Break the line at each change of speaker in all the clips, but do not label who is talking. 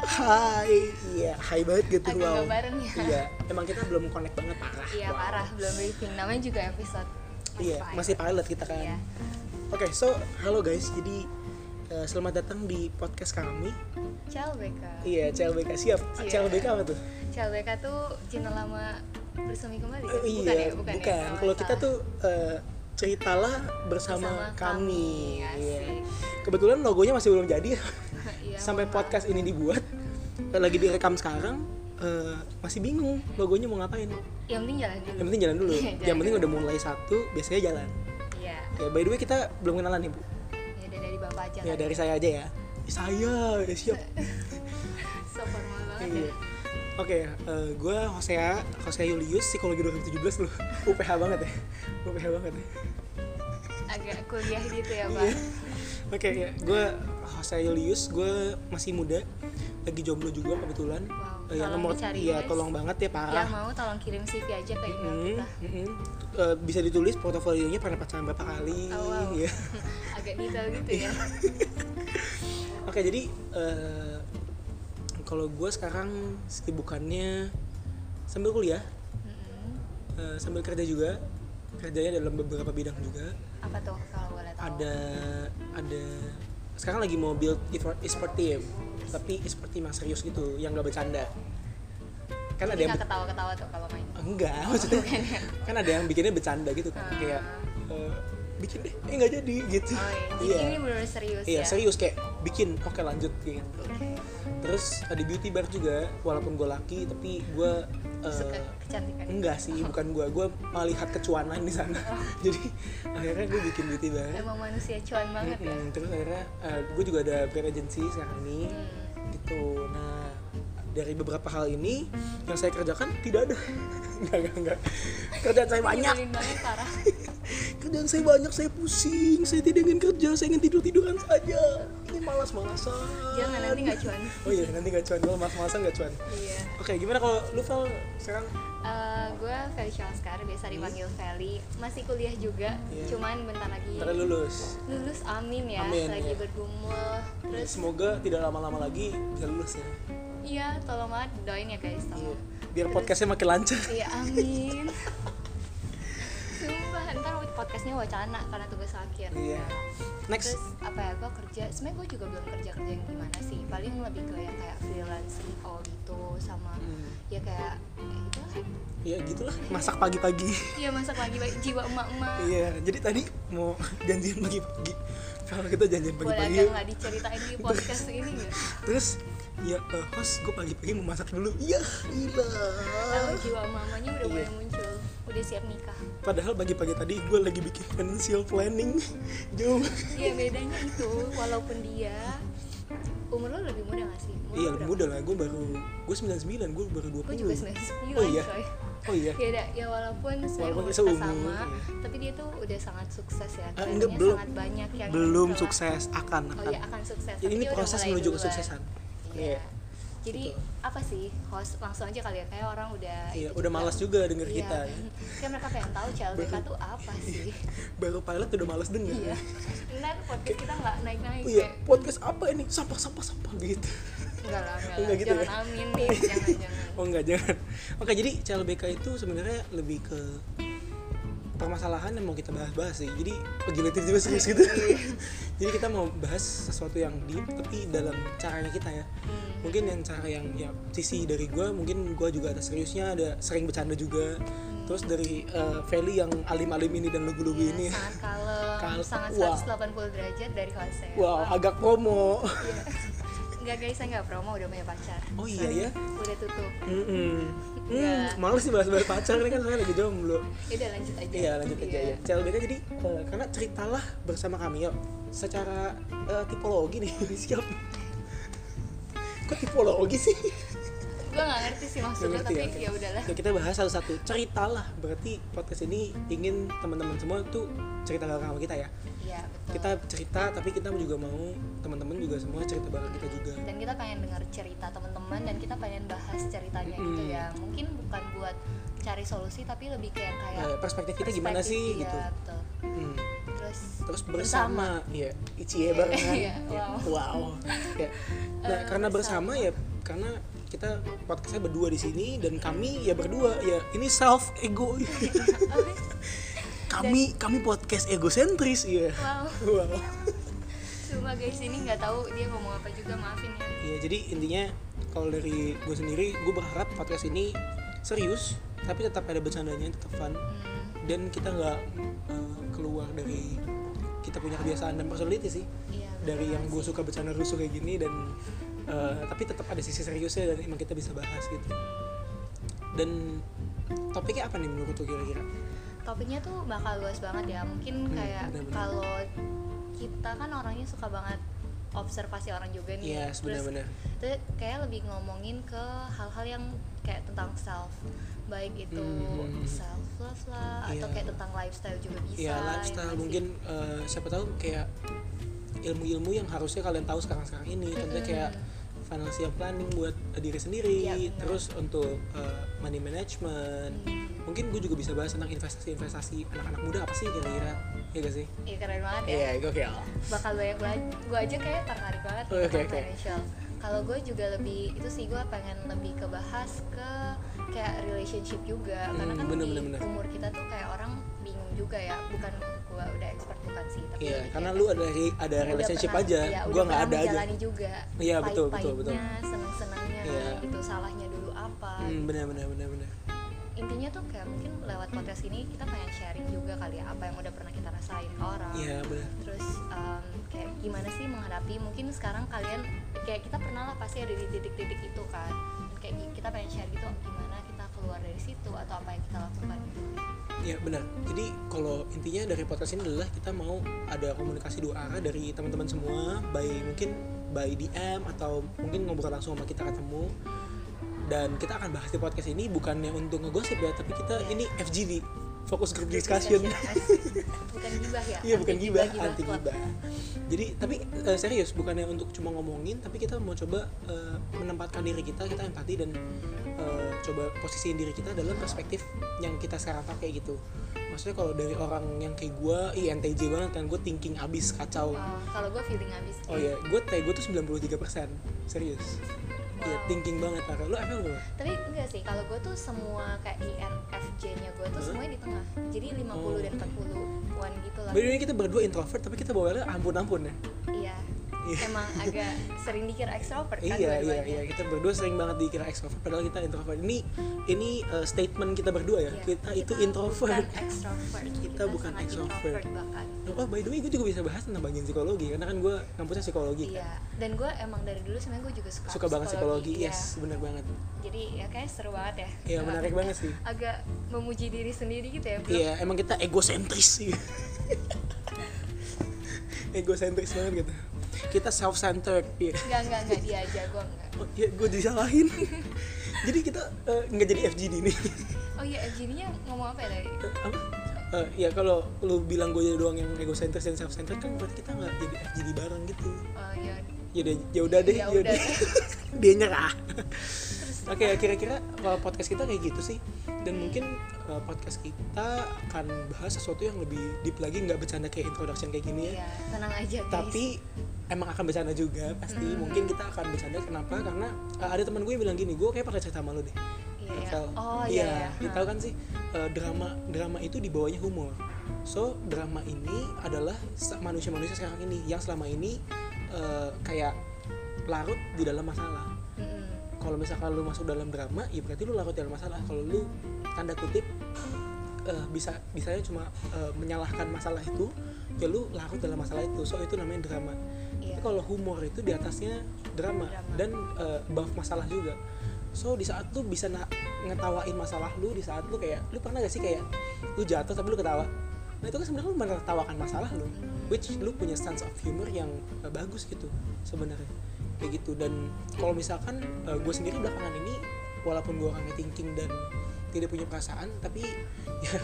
hai iya hai banget gitu
Agak
wow
gambaran ya.
iya emang kita belum connect banget parah
Iya
Wow.
parah belum briefing. Namanya juga episode.
iya
pilot.
masih pilot kita kan
Iya.
oke so halo guys jadi eh, selamat datang di podcast kami
CLBK.
iya CLBK siap
Iya.
CLBK apa tuh
CLBK tuh cinta lama bersemi kembali.
Eh,
kan?
iya
bukan ya, bukan. ya? Sama
kalau kita
salah.
tuh eh, ceritalah bersama,
Bersama
kami,
kami.
Iya.
Asik.
kebetulan logonya masih belum jadi
Iya,
sampai
mohon
podcast ini dibuat eh, lagi direkam sekarang eh, masih bingung logonya mau ngapain
maaf. Yang penting jalan dulu.
yang penting jalan dulu
Iya,
yang
jalan
penting
dulu.
udah mulai satu biasanya jalan
Iya.
ya by the way kita belum kenalan nih bu
Ya udah dari bapak aja.
ya
kali.
dari saya aja ya saya ya siap
So formal banget
Iya.
ya.
Oke, gue Hosea, Hosea Julius, psikologi 2017 loh. UPH banget ya, UPH banget ya.
Agak kuliah gitu ya
Iya.
pak.
Oke, gue Hosea Julius, gue masih muda, lagi jomblo juga kebetulan.
Wow,
Eh, yang
tolong
nomor,
dicari,
ya
guys.
tolong banget ya
Yang
parah.
mau tolong kirim CV aja ke email
Mm,
kita.
mm-mm. Eh, bisa ditulis portofolionya pernah pacaran berapa kali.
Oh, wow.
ya.
Agak detail gitu
Iya.
ya.
Oke, jadi eh, kalau gue sekarang kesibukannya sambil kuliah,
Mm-mm.
eh, sambil kerja juga, kerjanya dalam beberapa bidang juga.
Apa tuh kalau boleh tahu?
ada Kan ada sekarang lagi mau build e- e-sport team tapi e-sport team yang serius gitu yang gak bercanda kan ada
Jadi
yang
nggak ketawa-ketawa tuh kalau main.
be- enggak maksudnya
Bukan ya?
kan ada yang bikinnya bercanda gitu kan
Ah.
kayak eh, bikin deh eh nggak jadi gitu
Oh iya. Jadi
iya
ini benar serius
iya
ya.
serius kayak bikin oke lanjut gitu terus ada beauty bar juga walaupun gue laki tapi gue
Suka
eh,
kecantikan.
enggak sih bukan gue gue melihat kecuanan di sana jadi akhirnya gue bikin beauty bar
Oh. Emang manusia cuan banget ya.
Mm, terus akhirnya gue juga ada brand agency sekarang ini
Hmm.
gitu nah dari beberapa hal ini yang saya kerjakan tidak ada enggak enggak enggak kerjaan saya banyak
Nyebelin banget parah.
kerjaan saya banyak saya pusing saya tidak ingin kerja saya ingin tidur tiduran saja ini malas malasan
Jangan nanti nggak cuan.
oh iya nanti nggak cuan kalau malas malasan nggak cuan
Iya.
oke gimana kalau lu Val sekarang
Eh, gue Felicia Oscar, biasa dipanggil Feli. Masih kuliah juga,
Iya.
cuman bentar lagi
ntar lulus
lulus amin ya,
Amin,
lagi
iya.
bergumul. Terus
semoga tidak lama-lama lagi bisa lulus ya
iya tolong banget doain ya guys
Iya.
tolong.
biar
Terus-
podcastnya makin lancar
Iya amin. Sumpah ntar podcastnya wacana karena tugas akhir.
iya next
Terus apa ya gue kerja? Sebenarnya gue juga belum kerja kerja yang gimana sih? Paling lebih ke yang kayak freelance CEO gitu sama
Hmm.
ya kayak ya itu lah.
ya gitulah masak pagi-pagi
Iya masak lagi baik jiwa emak-emak.
iya jadi tadi mau janjian pagi-pagi kalau kita janjian
Boleh
pagi-pagi
agak nggak diceritain di podcast ini nggak?
terus ya eh, host gue pagi-pagi mau masak dulu iya
Tahu
gila
jiwa mamanya udah
Iya.
mulai muncul, udah siap nikah.
padahal pagi-pagi tadi gue lagi bikin financial planning jom
Iya bedanya itu, walaupun dia umur lo lebih muda nggak sih? Umur
iya
lo
lebih
berapa?
muda lah gue baru gue 99 gue baru 20
Gue juga 99
oh iya
coy.
oh iya
Ya, udah, ya walaupun sebenarnya
Walaupun
umur kita
seumur,
sama,
iya.
tapi dia tuh udah sangat sukses ya.
Ah,
Trennya
enggak, belum.
sangat banyak yang
belum
telah-
sukses akan
iya, Oh
akan
ya akan sukses.
jadi
tapi
ini
dia udah
proses
mulai
menuju
duluan.
kesuksesan
Iya.
Iya. Gitu.
Jadi apa sih host langsung aja kali ya kayak orang udah
iya
itu
udah malas juga denger
Iya.
kita ya.
Kan mereka pengen tahu CLBK tuh apa sih?
baru pilot udah malas denger
Iya. Benar podcast kita nggak naik-naik
iya
kayak,
podcast apa ini sampah sampah sampah gitu
Enggak lah,
Enggak
enggak, lah.
gitu
jangan
ya?
amin nih, jangan jangan.
Oh enggak jangan. Oke jadi CLBK itu sebenarnya lebih ke permasalahan yang mau kita bahas-bahas sih. Jadi oh, gila tiba-tiba serius gitu.
Iya.
jadi kita mau bahas sesuatu yang deep tapi dalam caranya kita ya. Mungkin yang cara yang ya sisi dari gue mungkin gue juga ada seriusnya ada sering bercanda juga. Terus dari eh, Feli yang alim-alim ini dan lugu-lugu
Iya,
ini ya.
sangat kalem,
Kal-
sangat
Wah.
180 derajat dari Jose.
Wow agak promo.
Enggak guys, saya enggak promo udah punya pacar.
Oh iya
Sorry,
ya?
Udah tutup.
Mm-mm. Hmm,
Iya.
malu sih bahas-bahas pacar ini kan saya lagi jomblo.
Ya udah lanjut aja.
Iya lanjut aja
Iya.
ya. CLBK jadi eh, karena ceritalah bersama kami yuk secara eh, tipologi nih siap. Kok tipologi sih?
Gue nggak ngerti sih maksudnya,
Nggak ngerti
tapi
ya, oke.
ya udahlah.
Ya, kita bahas satu-satu. Ceritalah berarti podcast ini ingin teman-teman semua tuh cerita bareng sama kita ya.
Iya betul.
Kita cerita tapi kita juga mau teman-teman juga semua cerita bareng kita juga.
dan kita pengen dengar cerita teman-teman dan kita pengen bahas ceritanya gitu
Mm.
ya. Mungkin bukan buat cari solusi tapi lebih kayak kayak
Eh, perspektif kita gimana
perspektif,
sih
iya,
gitu.
betul.
Hmm.
Terus
Terus bersama, ya, Icie barengan.
Iya,
Ya,
wow.
wow. Ya. Nah,
Eh,
karena bersama ya karena kita podcastnya berdua di sini dan kami ya berdua ya ini self ego kami kami podcast egosentris ya
wow
wow
cuma guys ini nggak tahu dia ngomong apa juga maafin ya
ya jadi intinya kalau dari gue sendiri gue berharap podcast ini serius tapi tetap ada bercandanya tetap fun
Hmm,
dan kita nggak eh, keluar dari kita punya kebiasaan dan personality sih
iya,
dari yang
bener
gue
sih.
suka bercanda rusuh kayak gini dan eh, tapi tetap ada sisi seriusnya dan emang kita bisa bahas gitu dan topiknya apa nih menurut lo kira-kira
topiknya tuh bakal luas banget ya mungkin
Hmm,
kayak
benar-benar.
kalau kita kan orangnya suka banget observasi orang juga nih
Iya, yes,
Terus
benar-benar
itu kayak lebih ngomongin ke hal-hal yang kayak tentang self baik itu
Hmm.
self love lah atau
Iya.
kayak tentang lifestyle juga bisa
ya
ya
lifestyle
nggak sih?
mungkin eh, siapa tahu kayak ilmu-ilmu yang harusnya kalian tahu sekarang-sekarang ini contohnya
Mm-mm.
kayak financial planning buat eh, diri sendiri
Iya, benar.
terus untuk eh, money management
Hmm.
mungkin gue juga bisa bahas tentang investasi-investasi anak-anak muda apa sih kira-kira ya gak sih
Iya keren banget ya
iya gokil
bakal banyak banget gue aja kayak tertarik banget
Oh, Oke,
tentang
oke.
financial kalau gue juga lebih itu sih gue pengen lebih ke bahas ke kayak relationship juga karena
Hmm,
kan
bener,
di
bener, bener.
umur kita tuh kayak orang bingung juga ya bukan gue udah expert bukan sih tapi
iya
lebih
karena
kayak
lu ada ada
udah
relationship
pernah-
aja
ya,
gue
udah
nggak
pernah
ada aja
menjalani juga
Iya, betul, betul, betul.
Pahit-pahitnya, seneng-senengnya
Iya.
gitu salahnya dulu apa
hmm, benar benar benar benar
intinya tuh kayak mungkin lewat podcast ini kita pengen sharing juga kali ya apa yang udah pernah kita rasain ke orang
iya benar
terus em, kayak gimana sih menghadapi mungkin sekarang kalian kayak kita pernah lah pasti ada di titik-titik itu kan Dan kayak gi- kita pengen share gitu gimana kita keluar dari situ atau apa yang kita lakukan
Iya benar. Jadi kalau intinya dari podcast ini adalah kita mau ada komunikasi dua arah dari teman-teman semua, by mungkin by DM atau mungkin ngobrol langsung sama kita ketemu. Dan kita akan bahas di podcast ini bukannya untuk ngegosip ya, tapi kita
Iya.
ini FGD, fokus group discussion.
Asik. bukan gibah ya
Iya bukan
Anti
gibah, anti
club.
gibah. Jadi tapi eh, serius bukannya untuk cuma ngomongin, tapi kita mau coba eh, menempatkan diri kita, kita empati dan eh, coba posisiin diri kita dalam perspektif yang kita sekarang pakai gitu. Maksudnya kalau dari orang yang kayak gue, INTJ banget kan, gue thinking abis kacau.
Eh, kalau gue feeling gitu. abis
Oh iya, gue teh gue tuh 93% serius. Iya
Wow.
thinking banget parah. Lu apa lu?
tapi enggak sih kalau gue tuh semua kayak E INFJ nya gue tuh
Hah?
semuanya di tengah jadi 50
Oh.
dan 40 one gitu lah
By the way, kita berdua introvert, tapi kita bawelnya ampun-ampun ya.
iya
Iya.
emang agak sering dikira extrovert kan
Iya iya
dua-duanya.
iya kita berdua sering banget dikira extrovert padahal kita introvert. Ini ini uh, statement kita berdua ya.
Iya,
Kita, itu introvert.
bukan extrovert gitu, kita,
bukan
sangat
extrovert.
bahkan
Oh by the way gue juga bisa bahas tentang bagian psikologi karena kan gue kampusnya psikologi kan.
iya dan gue emang dari dulu sebenarnya gue juga suka
Suka banget psikologi,
iya.
yes bener banget.
jadi ya kayak seru banget ya
Iya
Nah,
menarik banget sih.
agak memuji diri sendiri gitu ya belum
Iya emang kita egosentris sih. egosentris banget kita. Kita self centered. Iya.
nggak nggak nggak dia aja gue nggak
Oh, iya gue disalahin. jadi kita uh, nggak jadi FGD nih.
oh iya jadinya ngomong apa ya tadi
Eh, apa? Eh, ya kalau lu bilang gue jadi doang yang egocentris dan self centered kan berarti kita nggak jadi FGD bareng gitu.
oh iya
Ya udah, ya udah deh,
Ya
ya
udah.
udah. Dia nyerah. Oke, ya, kira-kira eh, podcast kita kayak gitu sih. Dan mungkin eh, podcast kita akan bahas sesuatu yang lebih deep lagi nggak bercanda kayak introduction kayak gini ya.
iya tenang aja guys
Tapi emang akan bercanda juga pasti.
Hmm.
Mungkin kita akan bercanda kenapa? Karena eh, ada teman gue yang bilang gini, gue kayak pernah cerita sama lu deh.
iya, iya.
Novel.
oh iya, iya.
kita tahu kan sih eh, drama drama itu dibawanya humor. So drama ini adalah se- manusia-manusia sekarang ini yang selama ini eh, kayak larut di dalam masalah.
Mm-mm.
Kalau misalkan lu masuk dalam drama, ya berarti lu larut dalam masalah. Kalau lu tanda kutip eh, bisa bisanya cuma eh, menyalahkan masalah itu, ya lu larut dalam masalah itu. So itu namanya drama.
iya
Tapi kalau humor itu di atasnya drama,
Drama.
dan eh, buff masalah juga. So di saat lu bisa na- ngetawain masalah lu, di saat lu kayak lu pernah gak sih kayak lu jatuh tapi lu ketawa. Nah itu kan sebenarnya lu menertawakan masalah lu, which lu punya sense of humor yang eh, bagus gitu sebenarnya kayak gitu. Dan kalau misalkan gue sendiri belakangan ini walaupun gue orangnya thinking dan tidak punya perasaan tapi ya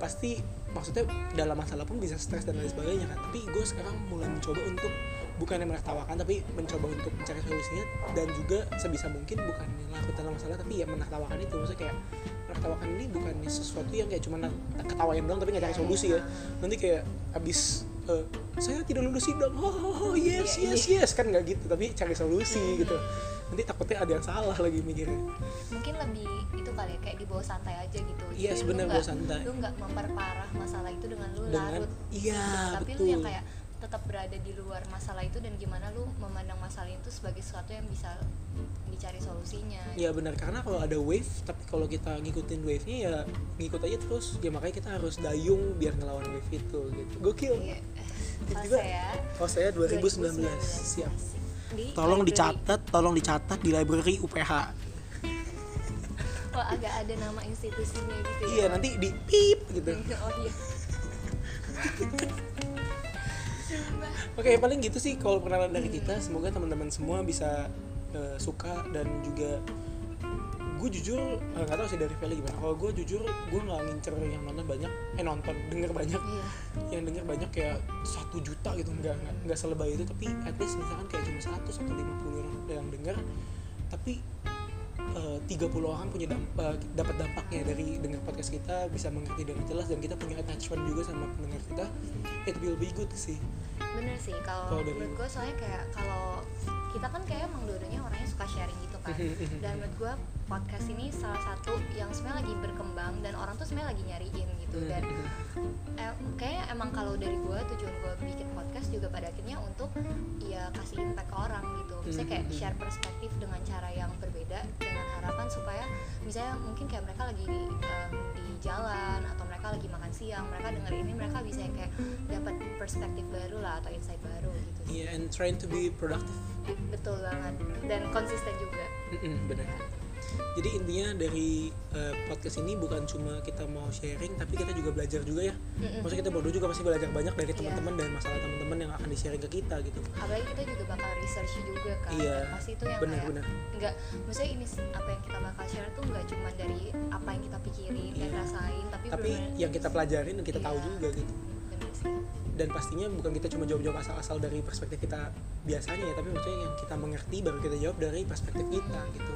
pasti maksudnya dalam masalah pun bisa stres dan lain sebagainya kan tapi gue sekarang mulai mencoba untuk bukannya menertawakan tapi mencoba untuk mencari solusinya dan juga sebisa mungkin bukan melakukan dalam masalah tapi ya menertawakan itu maksudnya kayak menertawakan ini bukannya sesuatu yang kayak cuma na- ketawain doang tapi nggak cari solusi ya nanti kayak abis eh, saya tidak lulus sidang oh, oh, oh, yes
Iya,
yes yes kan nggak gitu tapi cari solusi gitu nanti takutnya ada yang salah lagi mikirnya
mungkin lebih itu kali ya kayak dibawa santai aja gitu
Iya,
Jadi lu
sebenarnya
nggak-
bawa santai.
lu nggak memperparah masalah itu dengan lu
dengan
larut
iya
tapi lu
betul
yang kayak tetap berada di luar masalah itu dan gimana lu memandang masalah itu sebagai sesuatu yang bisa dicari solusinya
ya benar karena kalau ada wave tapi kalau kita ngikutin wave nya ya ngikut aja terus ya makanya kita harus dayung biar ngelawan wave itu gitu gokil
Iya. ya,
Tiba-tiba
Saya
oh saya 2019 siap tolong dicatat tolong dicatat di library UPH
Wah agak ada nama institusinya gitu ya.
iya nanti di pip gitu
Oh iya. Sumpah.
Oke, paling gitu sih kalau perkenalan dari kita. Semoga teman-teman semua bisa eh, suka dan juga gue jujur eh, nggak tahu sih dari Feli gimana. Kalau gue jujur gue nggak ngincer yang nonton banyak, eh nonton denger banyak,
Iya.
yang denger banyak kayak satu juta gitu nggak nggak nggak selebay itu. Tapi at least misalkan kayak cuma 100 atau 50 orang yang denger, tapi eh, 30 orang punya dampak dapat dampaknya dari dengar podcast kita bisa mengerti dengan jelas dan kita punya attachment juga sama pendengar kita it will be good sih
Bener sih kalau
Kalau dari-
menurut gue soalnya kayak kalau kita kan kayak emang dua-duanya orangnya suka sharing gitu kan.
Mhm.
dan menurut gue podcast ini salah satu yang sebenarnya lagi berkembang dan orang tuh sebenarnya lagi nyariin gitu dan eh, kayaknya emang kalau dari gue tujuan gue bikin podcast juga pada akhirnya untuk ya kasih impact ke orang gitu misalnya kayak
Mhm.
share perspektif dengan cara yang berbeda dengan harapan supaya misalnya mungkin kayak mereka lagi di, em, di jalan atau mereka lagi makan siang mereka denger ini mereka bisa yang kayak dapat perspektif baru lah atau insight baru gitu sih.
Iya, and trying to be productive.
betul banget dan konsisten juga
Mm-mm, bener. Jadi intinya dari eh, podcast ini bukan cuma kita mau sharing, tapi kita juga belajar juga ya.
Mm-mm. Iya.
Maksudnya kita berdua juga pasti belajar banyak dari teman-teman dan masalah teman-teman yang akan di-sharing ke kita gitu.
apalagi kita juga bakal research juga kan
Iya,
Dan pasti itu yang kayak
Benar-benar.
nggak maksudnya ini s- apa yang kita bakal share tuh nggak cuma dari apa yang kita pikirin dan
Iya.
rasain tapi,
Tapi
bener-bener-
yang kita pelajarin dan kita tahu
Iya.
juga gitu.
bener sih
Dan pastinya bukan kita cuma jawab-jawab asal-asal dari perspektif kita biasanya ya, tapi maksudnya yang kita mengerti baru kita jawab dari perspektif kita gitu.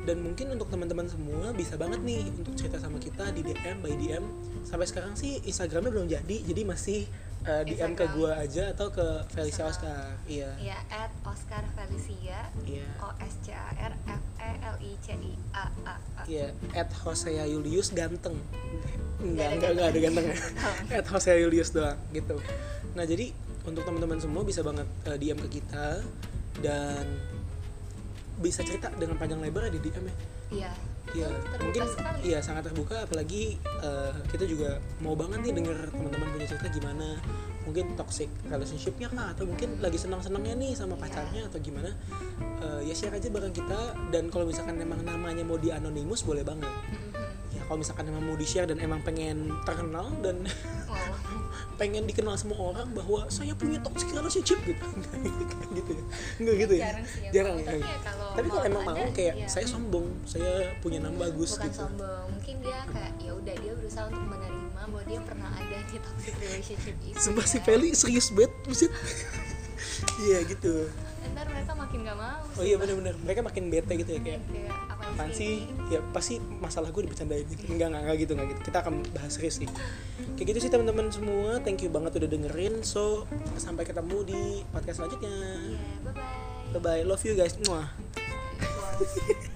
Dan mungkin untuk teman-teman semua bisa banget nih untuk cerita sama kita di DM by DM. Sampai sekarang sih Instagramnya belum jadi, jadi masih eh, DM ke
Instagram.
gua aja atau ke Felicia
Sama.
Oscar. Iya.
ya at Oscar Felicia
Iya.
O S C A R F E L I C I A A A
Iya, at Hosea Julius ganteng.
Nggak ada
Enggak, enggak, enggak ada ganteng ya.
Tahu.
at Hosea Julius doang gitu. Nah, jadi untuk teman-teman semua bisa banget eh, DM ke kita dan bisa cerita dengan panjang lebar di DM ya.
iya
Iya,
Terbuka
mungkin
sekali.
iya sangat terbuka apalagi eh, kita juga mau banget nih denger teman-teman punya cerita gimana. Mungkin toxic relationship-nya kah atau mungkin lagi senang-senangnya nih sama
Iya.
pacarnya atau gimana. Eh, ya share aja bareng kita dan kalau misalkan memang namanya mau di anonimus boleh banget
Mhm.
ya kalau misalkan emang mau di share dan emang pengen terkenal dan
Wow.
pengen dikenal semua orang bahwa saya punya toxic relationship gitu gitu ya nggak gitu ya
jarang sih ya,
jarang
Bang.
ya
tapi ya kalau
tapi kalau emang mau
ada,
kayak
iya.
saya sombong saya punya nama bagus
bukan
gitu
sombong mungkin dia kayak ya udah dia berusaha untuk menerima bahwa dia pernah ada di toxic relationship itu
sumpah si
ya.
Feli serius banget buset iya gitu
ntar mereka makin gak mau
oh iya benar-benar mereka makin bete gitu ya kayak
kayak apa
apaan sih ya
Iya.
pasti masalah gue dibercandain gitu enggak enggak, enggak gitu enggak gitu kita akan bahas serius sih kayak gitu sih teman-teman semua thank you banget udah dengerin so sampai ketemu di podcast selanjutnya
iya bye
bye
bye
bye love you guys muah
Bye.